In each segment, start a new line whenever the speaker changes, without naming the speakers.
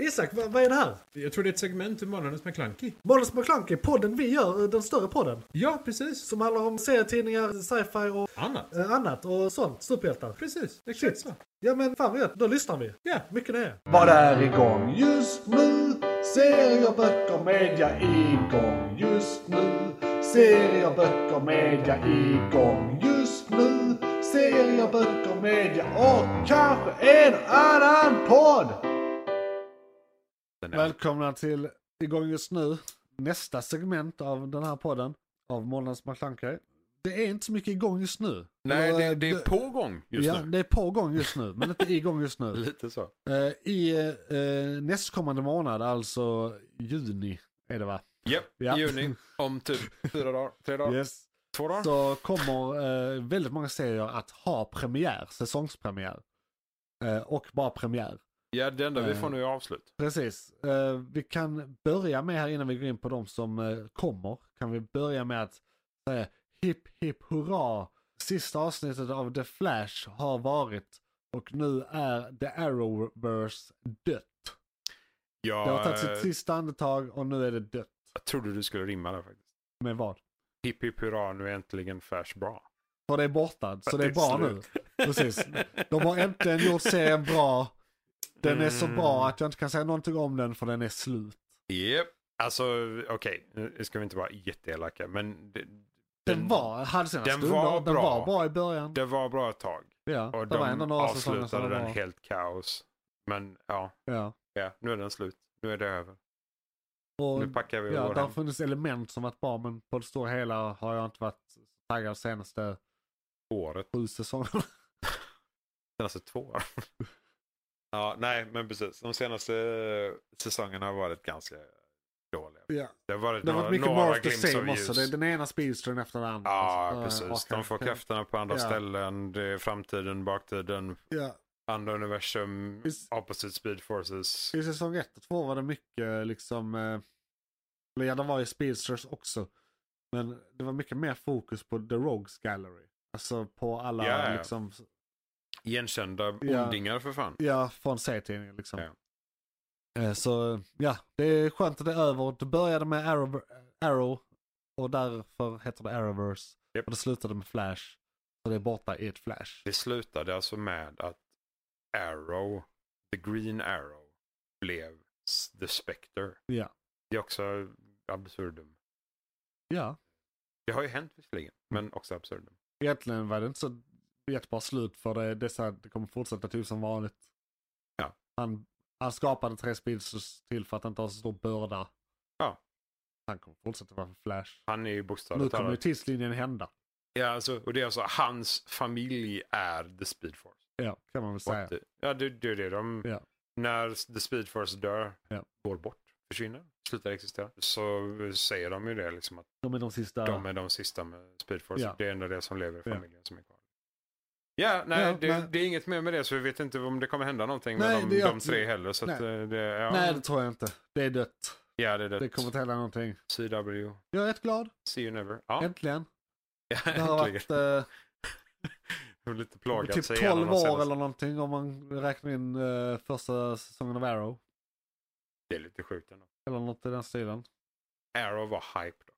Isak, vad, vad är det här?
Jag tror det är ett segment ur Månadens McKlunky.
Måns McClunky, podden vi gör, den större podden.
Ja, precis.
Som handlar om serietidningar, sci-fi och
Annat.
eh, annat och sånt. Superhjältar.
Precis, exakt så.
Ja men fan vad gött, då lyssnar vi.
Ja.
Mycket det är.
Vad är igång just nu? Serier, böcker, media igång just nu. Serier, böcker, media igång just nu. Serier, böcker, media och kanske en annan podd. Välkomna till igång just nu. Nästa segment av den här podden av Månadens McKlunky. Det är inte så mycket igång just nu.
Nej,
Eller, eh,
det, det är på gång just
ja,
nu.
det är på gång just nu, men inte igång just nu.
Lite så.
Eh, I eh, nästkommande månad, alltså juni, är det va?
Japp,
Ja.
i juni. Om typ fyra dagar, tre dagar,
Yes.
två dagar.
Så kommer eh, väldigt många serier att ha premiär, säsongspremiär. Eh, och bara premiär.
Ja, det enda vi
Eh.
får nu är avslut.
Precis. Eh, vi kan börja med här innan vi går in på de som eh, kommer. Kan vi börja med att säga hipp hipp hurra. Sista avsnittet av The Flash har varit och nu är The Arrowverse dött.
Ja,
Det har tagit sitt
eh,
sista andetag och nu är det dött.
Jag trodde du skulle rimma där faktiskt.
Med vad?
Hipp hipp hurra, nu är äntligen Flash bra.
För det är borta, så det är
Det är
bra nu. Precis. De har äntligen gjort serien bra. Den är så bra att jag inte kan säga någonting om den för den är slut.
Japp. Alltså, okej, nu ska vi inte vara jätteelaka, men det,
Den, var, hade sina
den
stunder,
var
den
bra.
var bra i början.
det var bra ett tag.
ja,
Och
det var ändå
de
några säsonger som
avslutade
var
den
bra.
helt kaos. Men ja,
Ja.
ja, nu är den slut. Nu är det över.
Och,
Nu packar vi och
ja,
går
det har
hem.
funnits element som varit bra men på det stora hela har jag inte varit taggad senaste
Året,
sju säsongerna.
senaste två år. ja, nej, men precis. De senaste eh, säsongerna har varit ganska dåliga.
ja.
Det har varit
Det har
några,
varit mycket
några
more of the
glimpse
same
av ljus.
också. Det är den ena speedstern efter den andra.
Ja,
Alltså, eh,
precis.
och-
De får krafterna på andra
Ja.
ställen. Det är framtiden, baktiden,
Ja.
andra universum,
Is-
opposite speed forces.
I säsong 1 och 2 var det mycket liksom, eh, eller ja det var ju Speedsters också. Men det var mycket mer fokus på The Rogues Gallery. Alltså på alla
Ja, ja.
liksom,
Igenkända
Ja.
ondingar för fan.
ja från serietidningen liksom.
Ja.
Eh, Så ja, det är skönt att det är över. Det började med Arrow, Arrow och därför heter det Arrowverse.
Japp.
Och det slutade med Flash. Så det är borta i ett Flash.
Det slutade alltså med att Arrow, the green arrow, blev s- the specter.
Ja.
Det är också absurdum.
Ja, Mm.
Det har ju hänt visserligen, men också absurdum.
egentligen var det inte så jättebra slut för det, det, är så här, det kommer fortsätta typ som vanligt.
Ja.
Han, han skapade tre speedsters till för att han inte har så stor börda.
Ja.
Han kommer fortsätta vara för Flash.
Han är ju
nu
bokstavligt
kommer ju
talat.
tidslinjen hända.
Ja, alltså, och det är alltså hans familj är the speed force.
Ja, kan man väl säga.
What the- Ja, det, det är det. De,
Ja.
När The Speed Force dör,
Ja.
går bort, försvinner, slutar existera. Så säger de ju det, liksom, att
De är de sista.
de är de sista med Speed Force.
Ja.
Det är ändå det som lever i
Ja.
familjen som är kvar. Ja, nej,
Ja,
det,
nej.
det är inget mer med det så vi vet inte om det kommer hända någonting
Nej,
med de,
det är
de tre
att-
heller. Så att,
nej.
eh, det, ja,
Nej, det tror jag inte. Det är dött.
ja, det är
Det kommer inte hända någonting.
CW,
Jag är rätt glad.
see you never. Ja,
Äntligen.
ja
Det har
äntligen.
varit eh,
Jag har lite plagat sig
typ
igenom
12
de
år
senaste-
eller någonting om man räknar in eh, första säsongen av Arrow.
Det är lite sjukt ändå.
Eller något i den stilen.
Arrow var hype då.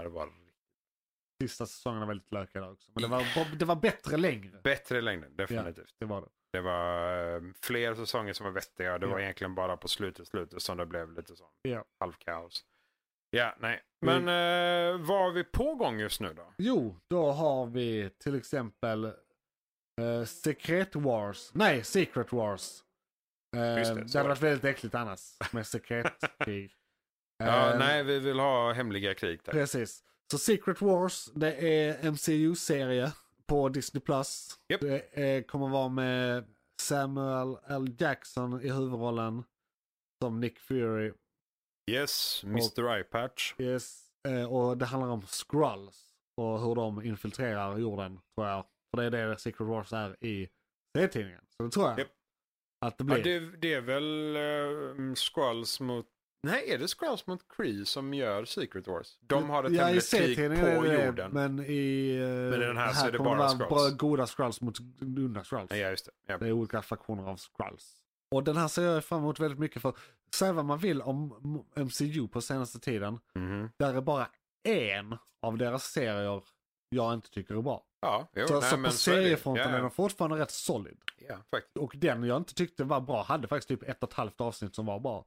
Arrow var
sista säsongen var väldigt lökiga där också. Men det var, det var bättre längre.
bättre i längden, definitivt.
Det var det.
Det var eh, fler säsonger som var vettiga. Det var
Ja.
egentligen bara på slutet, slutet som det blev lite sån
Ja.
halvkaos. Ja, nej. Men eh, vad har vi på gång just nu då?
Jo, då har vi till exempel eh, Secret Wars. Nej, Secret Wars. Eh,
Just det,
det,
så
hade
var
varit väldigt äckligt annars med sekretkrig.
Ja,
Eh,
nej, vi vill ha hemliga krig där.
Precis. Så Secret Wars, det är MCU-serie på Disney+. Plus.
Japp.
Det är, kommer vara med Samuel L. Jackson i huvudrollen som Nick Fury.
Yes, Mr. Eye Patch.
Yes. eh, Och det handlar om Skrulls och hur de infiltrerar jorden tror jag. För det är det Secret Wars är i serietidningen. Så det tror jag.
Japp.
Att det
Ja,
blir.
det, det är väl uh, Skrulls mot... Nej, är det Skrulls mot Kree som gör Secret Wars? De har ett
ja, i
hemligt krig
serietidningen är
på
det det,
jorden.
Men i eh,
i den här så är det
kommer
bara
vara
Skrulls.
bra- goda Skrulls mot onda Skrulls.
Ja, just det. Ja.
Det är olika fraktioner av Skrulls.
Och den här ser jag fram emot väldigt mycket för. Säg vad man vill om MCU på senaste tiden.
Mhm.
Där är bara en av deras serier jag inte tycker är bra.
Ja, jo,
så
nej,
så på
men så är det ju.
seriefronten
Ja,
är den fortfarande rätt solid.
Ja, faktiskt.
Och den jag inte tyckte var bra hade faktiskt typ ett och ett halvt avsnitt som var bra.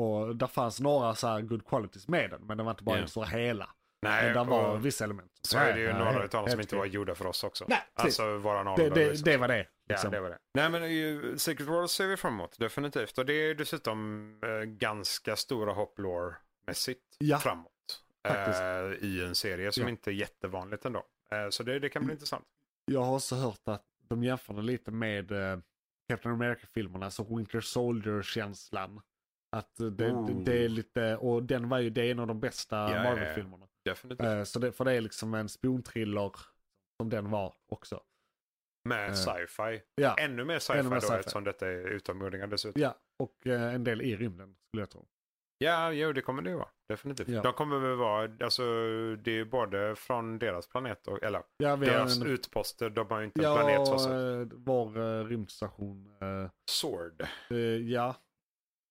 Och där fanns några så här good qualities med den, men den var inte bara
Ja.
så hela.
Nej,
men där var
och
vissa element.
så är det ju
Ja,
några
helt-
utav dem som
helt
inte
okej.
var gjorda för oss också.
Nej, precis.
Alltså våran
det,
ålder.
det,
liksom.
det var det.
Ja,
liksom.
det var det. Nej men ju, Secret World ser vi fram emot, definitivt. Och det är ju dessutom eh, ganska stora hopp lore-mässigt
Ja.
framåt.
Faktiskt.
Eh, I en serie som
Ja. Mm.
inte är jättevanligt ändå. Eh, så det, det kan bli intressant.
Jag har också hört att de jämför det lite med eh, Captain America-filmerna, alltså Winter Soldier-känslan. Att eh, det, det, det är lite, och den var ju, det är en av de bästa
Oh. ja, ja.
Marvel-filmerna.
Definitivt.
Eh, så det, för det är liksom en spionthriller som den var också.
Med
eh,
sci-fi.
Ja,
Ännu mer sci-fi
ännu mer
då
sci-fi.
eftersom detta är utomjordingar dessutom.
ja och eh, en del i rymden skulle jag tro.
Ja, jo, det kommer det ju vara. Definitivt.
Ja.
De kommer väl vara, alltså det är ju både från deras planet och, eller
Ja, vi har
deras
en,
utposter. De har ju inte en planet
ja
så.
och
så-
eh, vår eh, rymdstation. eh,
Sword.
eh, ja,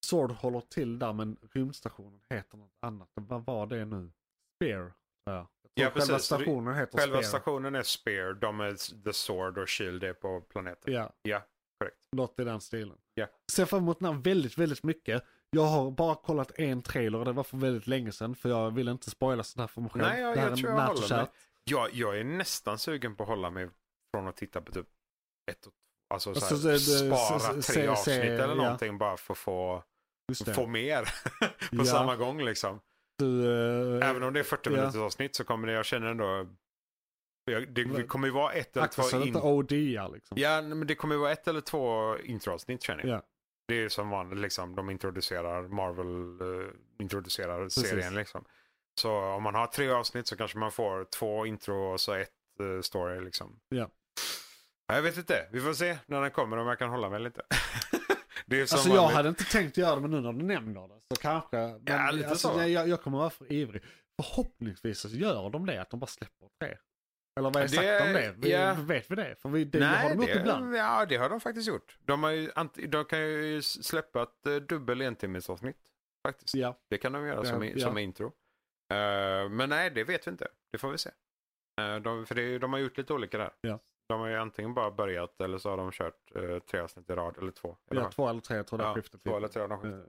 Sword håller till där men rymdstationen heter något annat. Vad var det nu? Spear? Ja, jag tror
Ja,
själva
precis.
stationen heter
Själva
Spear.
stationen är Spear, de är The Sword och Shield är på planeten.
Ja.
Ja, korrekt.
Något i den stilen.
Ja.
Ser fram emot den här väldigt, väldigt mycket. Jag har bara kollat en trailer och det var för väldigt länge sedan för jag vill inte spoila sån här för mig själv.
Nej, jag,
det här
jag
är
tror jag
natt och
håller
kärt.
mig. Jag, jag är nästan sugen på att hålla mig från att titta på typ ett och Alltså så här,
Alltså, så är det-
spara
se-
tre
se- se-
avsnitt eller
ja.
någonting bara för att få,
Just det.
få mer på
Ja.
samma gång liksom.
Du, eh,
Även om det är 40
ja.
minuters avsnitt så kommer det, jag känner ändå, jag, det, det kommer ju vara ett eller
akta så
två
det
in,
inte OD'ar liksom.
Ja, men det kommer ju vara ett eller två introavsnitt känner jag.
Ja.
Det är ju som vanligt, liksom, de introducerar Marvel, eh, introducerar serien liksom. Så om man har tre avsnitt så kanske man får två intro och så ett eh, story liksom.
Ja.
Ja, Jag vet inte, vi får se när den kommer om jag kan hålla mig lite. det är som
Alltså jag
vanligt.
hade inte tänkt göra det men nu när du nämner det så kanske. Men,
Ja, lite
alltså,
så.
nej, Jag, jag kommer vara för ivrig. Förhoppningsvis så gör de det, att de bara släpper det. Eller vad är
Det-
sagt om det? Vi,
ja.
Vet vi det? För vi, det har
Nej,
de gjort ibland.
Ja, det har de faktiskt gjort. De, har ju, ant- de kan ju släppa ett eh, dubbel entimmesavsnitt. Faktiskt.
Ja.
Det kan de göra
Det-
som, i,
ja.
som intro. Eh, men nej, det vet vi inte. Det får vi se. Eh, de, för det, är ju- de har gjort lite olika där.
Ja.
De har ju antingen bara börjat eller så har de kört eh, tre avsnitt i rad eller två. Eller
Ja,
vad?
två eller tre tror jag det
ja,
är skiftet.
två eller tre av de skiftar.
Eh,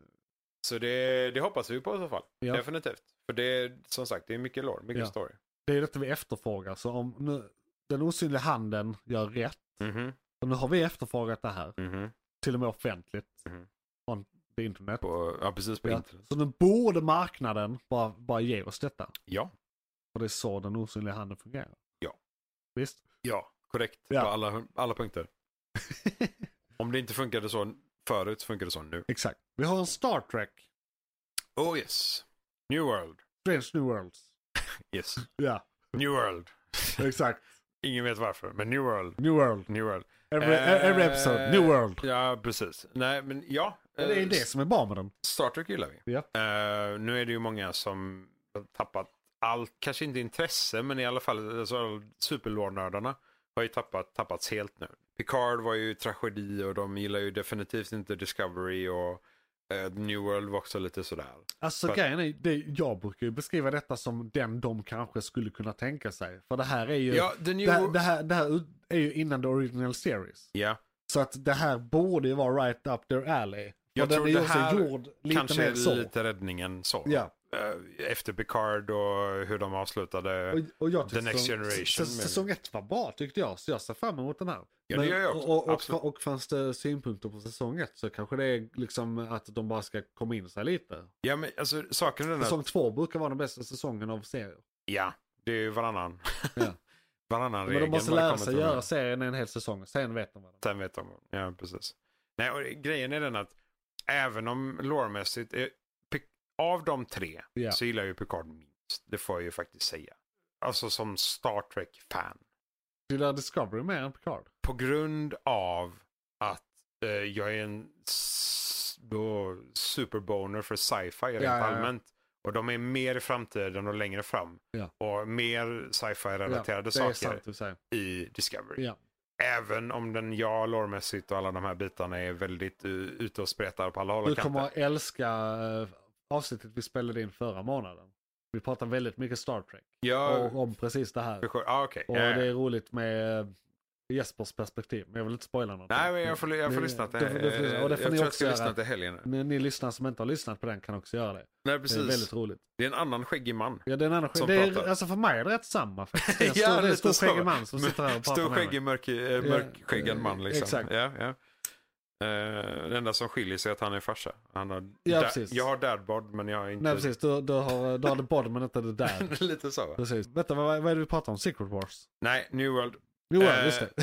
Så det, det hoppas vi på i så fall.
Ja.
Definitivt. För det är som sagt, det är mycket lore, mycket
Ja.
story.
Det är detta vi efterfrågar. Så om nu, den osynliga handen gör rätt.
Mhm,
Och nu har vi efterfrågat det här.
mhm.
Till och med offentligt.
Mhm.
On the internet.
På, ja, precis på
Ja.
internet.
Så nu borde marknaden bara, bara ge oss detta.
Ja.
För det är så den osynliga handen fungerar.
Ja.
Visst?
Ja, korrekt.
Ja.
På alla, alla punkter. Om det inte funkade så förut så funkar det så nu.
Exakt. Vi har en Star Trek.
Oh yes. New World.
Strange New Worlds.
Yes.
Ja,
New World.
exakt.
Ingen vet varför, men New World.
New World.
New World.
Every, e,
Eh,
every episode, New World.
Ja, precis. Nej, men ja.
Det är
eh,
det som är bra med den.
Star Trek gillar vi.
Ja.
Eh, nu är det ju många som har tappat allt, kanske inte intresse, men i alla fall alltså, superlårnördarna har ju tappat, tappats helt nu. Picard var ju tragedi och de gillar ju definitivt inte Discovery och eh, New World var också lite sådär.
Alltså
För-
grejen är, det, jag brukar ju beskriva detta som den de kanske skulle kunna tänka sig. För det här är ju,
Ja, The New
det, här,
World.
det, här, det här är ju innan the original series.
Ja,
Så att det här borde ju vara right up their alley.
Jag
och den
tror
är ju
det här
också gjord lite
kanske
mer så.
lite räddningen så.
Ja,
Eh, efter Picard och hur de avslutade.
och, och jag tyckte
The Next
säsong-
Generation,
säs-
men-
säsong ett var bra tyckte jag, så jag ser fram emot den här.
Ja, det gör jag också.
och, och,
Absolut.
och, och fanns det synpunkter på säsong ett så kanske det är liksom att de bara ska komma in sig lite.
Ja, men alltså saken är den att
Säsong två brukar vara den bästa säsongen av serier.
Ja, det är ju varannan.
Ja.
varannan
Men
regel.
de måste
när det
lära
kommer
sig
till de här.
göra serien en hel säsong, sen vet de vad de
Sen vet de. Ja, precis. Nej, och grejen är den att även om loremässigt, eh, Pic- av de tre
Ja.
så gillar jag ju Picard minst. Det får jag ju faktiskt säga. Alltså som Star Trek-fan.
gillar Discovery mer än Picard.
På grund av att eh, jag är en s- då, superboner för sci-fi rent
ja, ja.
allmänt. Och de är mer i framtiden och längre fram.
Ja.
Och mer sci-fi-relaterade
det är
saker
sant du säger.
i Discovery.
Ja.
Även om den, ja, lårmässigt och alla de här bitarna är väldigt uh, ute och spretar på alla håll
Du
och kanter.
kommer att älska eh, avsnittet vi spelade in förra månaden. Vi pratar väldigt mycket Star Trek.
Ja,
Och om precis det här.
för sure. ah, okej.
Och
Ja, ja.
det är roligt med eh, Jespers perspektiv. Men jag vill inte spoila någonting.
Nej, men jag får, jag får
Det-
lyssna till
det får- det får-
eh, Jag
och det får ni
tror jag
också
ska lyssna
göra.
till helgen. nu.
Men ni lyssnare som inte har lyssnat på den kan också göra det.
Nej,
Det är
precis.
väldigt roligt.
Det är en annan skäggig man.
Ja, det är en annan skillnad.
Som
det är,
pratar.
alltså för mig är det rätt samma faktiskt. Det är en
Ja,
stor, det är en
lite
stor
så.
skäggig man som sitter här och pratar
Stor
med mig.
skäggig mörk, eh, mörkskäggad
eh,
man liksom.
exakt.
Ja, ja. Eh, det enda som skiljer sig är att han är farsa. Han har
Ja,
da-
precis.
jag har dadbod men jag har inte...
Nej precis, du, du, har, du har det både men inte det där.
Lite så va?
Precis. Vänta, vad, vad är det vi pratar om? Secret Wars?
Nej, New World.
Jo,
Eh,
just det.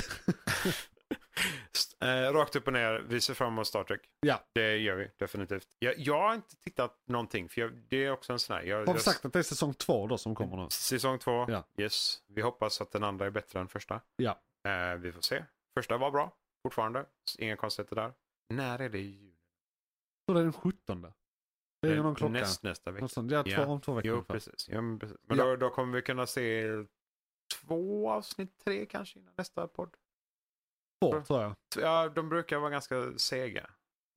St- eh, rakt upp och ner, vi ser fram emot Star Trek.
Ja.
Det gör vi definitivt. Jag, jag har inte tittat någonting för jag, det är också en sån här. Jag,
Har vi
jag-
sagt att det är säsong två då som kommer nu?
Säsong två,
Ja.
yes. Vi hoppas att den andra är bättre än första.
Ja.
Eh, vi får se. Första var bra, fortfarande. Inga konstigheter där. När är det i juni?
Så det är den 17. Det är ju någon klocka.
Eh, Näst, nästa vecka.
Något sånt. Ja, två,
Ja.
om två veckor
Jo,
ungefär.
precis. Ja, men precis. Men
Ja.
Då, då kommer vi kunna se två avsnitt, tre kanske innan nästa podd.
Två tror jag.
Så, Ja, de brukar vara ganska sega.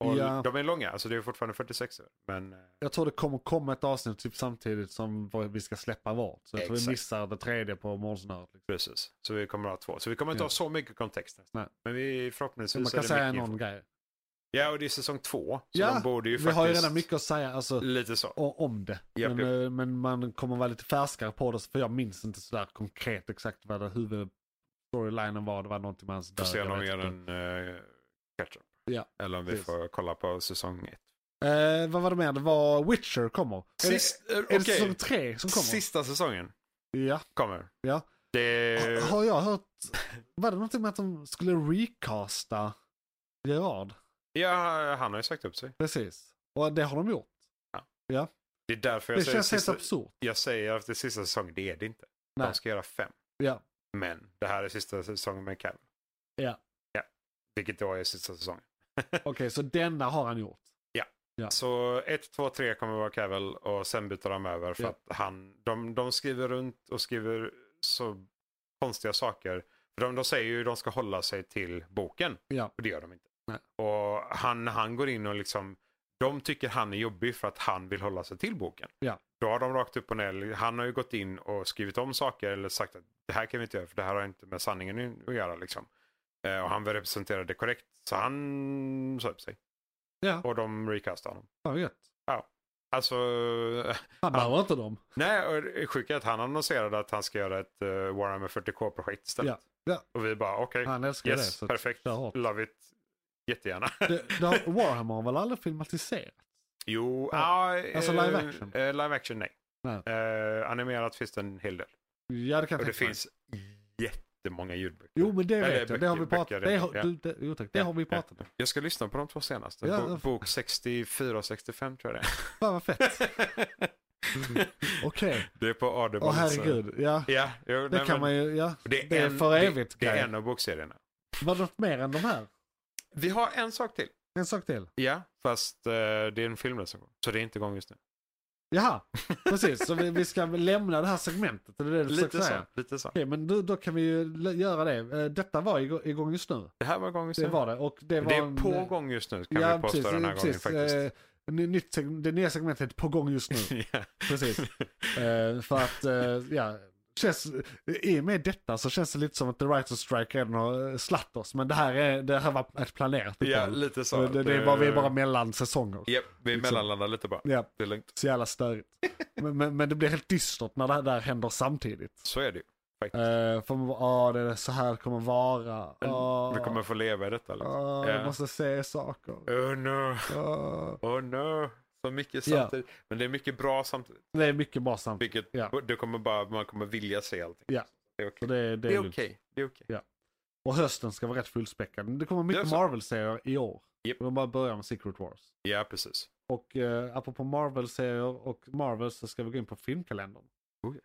Och
Ja.
De är långa, alltså det är fortfarande 46 Men eh,
Jag tror det kommer komma ett avsnitt typ samtidigt som vad vi ska släppa vart. Så jag tror vi
Exakt.
missar det tredje på morgonsnöret. Liksom.
precis, så vi kommer att ha två. Så vi kommer inte
Ja.
ha så mycket kontext. nästa.
Nej.
Men vi förhoppningsvis
Man kan
är det
säga
mycket
någon
info.
grej.
Ja, och det är säsong två. Så
Ja,
de borde ju
Vi
faktiskt...
har ju redan mycket att säga. Alltså,
Lite så.
o- om det.
Japp,
men, eh, men man kommer vara lite färskare på det för jag minns inte sådär konkret exakt vad det huvudstorylinen var. Det var någonting med hans
Får
död.
se om
jag
de
vet
gör
inte.
en uh, catch-up.
Ja,
Eller om vi
precis.
får kolla på säsong ett.
Eh, vad var det mer? Det var Witcher kommer.
Sist, eh,
är det, är det
okej.
säsong tre som kommer?
Sista säsongen
Ja.
kommer.
Ja.
Det...
Har jag hört, var det någonting med att de skulle recasta Gerard?
Ja, han har ju sagt upp sig.
Precis. Och det har de gjort.
Det är därför jag
Det
säger,
känns helt
sista,
absurt.
jag säger efter sista säsongen, det är det inte.
Nej.
De ska göra fem.
Ja.
Men det här är sista säsongen med Cav.
Ja.
ja. Vilket då är sista säsongen.
Okej, så denna har han gjort. Ja.
Så 1, 2, 3 kommer vara Cavill och sen byter de över för
Ja.
att han, de, de skriver runt och skriver så konstiga saker. För de, de säger ju att de ska hålla sig till boken
Ja.
och det gör de inte.
Nej.
Och han, han går in och liksom, de tycker han är jobbig för att han vill hålla sig till boken.
Ja.
Då har de rakt upp och ner, han har ju gått in och skrivit om saker eller sagt att det här kan vi inte göra för det här har inte med sanningen att göra liksom. Eh, Och han representerar det korrekt så han sa upp sig
Ja,
och de recastar honom.
fan gött.
Alltså,
Han behöver inte dem.
nej, och det sjuka är att han annonserade att han ska göra ett eh, Warhammer 40K-projekt istället.
Ja.
Och vi bara, okej,
Han älskar det.
yes,
Så
perfekt,
kör hårt.
love it, jättegärna.
det, det har, Warhammer har väl aldrig filmatiserat?
Jo,
Ja.
ja.
Alltså
eh,
live action.
eh, live action, nej.
Nej.
Eh, animerat finns det en hel del.
Ja, det kan
Och
jag
det
tänka mig.
finns jättemånga ljudböcker.
Jo, men det
Eller
vet jag. Det har vi
böcker-
pratat
böcker,
det har,
ja.
du, det, jo, tack, det
Ja,
har vi
ja.
pratat om.
Jag ska lyssna på de två senaste.
Ja.
Bo- Bok 64 och 65 tror jag det
Fan vad fett.
är.
Okej.
det är på Audible.
Åh
så-
herregud. Ja.
Ja, jo,
Det
nej, men-
kan man ju, ja.
Det är,
Det är
en,
för
det-
evigt,
Det,
Kaj.
är en av bokserierna.
Var det något mer än de här?
Vi har en sak till.
En sak till.
Ja, fast eh, det är en filmrecension. Så det är inte igång just nu.
Jaha, precis. Så vi, vi ska väl lämna det här segmentet. Det är det du försöker
Lite
säga.
så, lite så.
Okej, men då, då kan vi ju l- göra det. Eh, Detta var igå- igång just nu.
Det här var igång just
Det
nu.
var det. Och det,
Det,
var en,
är på gång just nu kan vi påstå den här gången faktiskt.
Eh, ny- nytt seg- det nya segmentet heter på gång just nu.
ja.
Precis. Eh, för att, eh, ja. Känns, I och med detta så känns det lite som att The Writers Strike redan har eh, slatt oss. Men det här, är, det här var ett planerat
ja,
uppehåll.
lite så.
det, det, är bara, vi är bara mellan säsonger.
Japp, vi
liksom.
mellanlandar lite bara.
Ja,
Det är lugnt.
så jävla störigt. Men, men, men det blir helt dystert när det här där händer samtidigt.
Så är det ju. faktiskt.
Uh, för man bara, ah, det är så här det kommer vara. Ah,
Vi kommer få leva i detta. Liksom.
ah,
Ja.
Jag måste se saker.
Oh no,
Ah.
oh no. Så mycket
Ja.
samtidigt. Men det är mycket bra samtidigt.
Det är mycket bra samtidigt.
Vilket
Ja.
du kommer bara, man kommer vilja se allting.
Ja.
Det är okej.
Så det, det
Det
är
är
lugnt.
okej. Det är okej.
Och hösten ska vara rätt fullspäckad. Men Det kommer
Det
mycket
är så.
Marvel-serier i år.
Japp.
Och De bara börjar med Secret Wars.
Ja, precis.
Och eh, apropå Marvel-serier och Marvel så ska vi gå in på filmkalendern.
Oh, yes.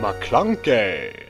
McClunkey.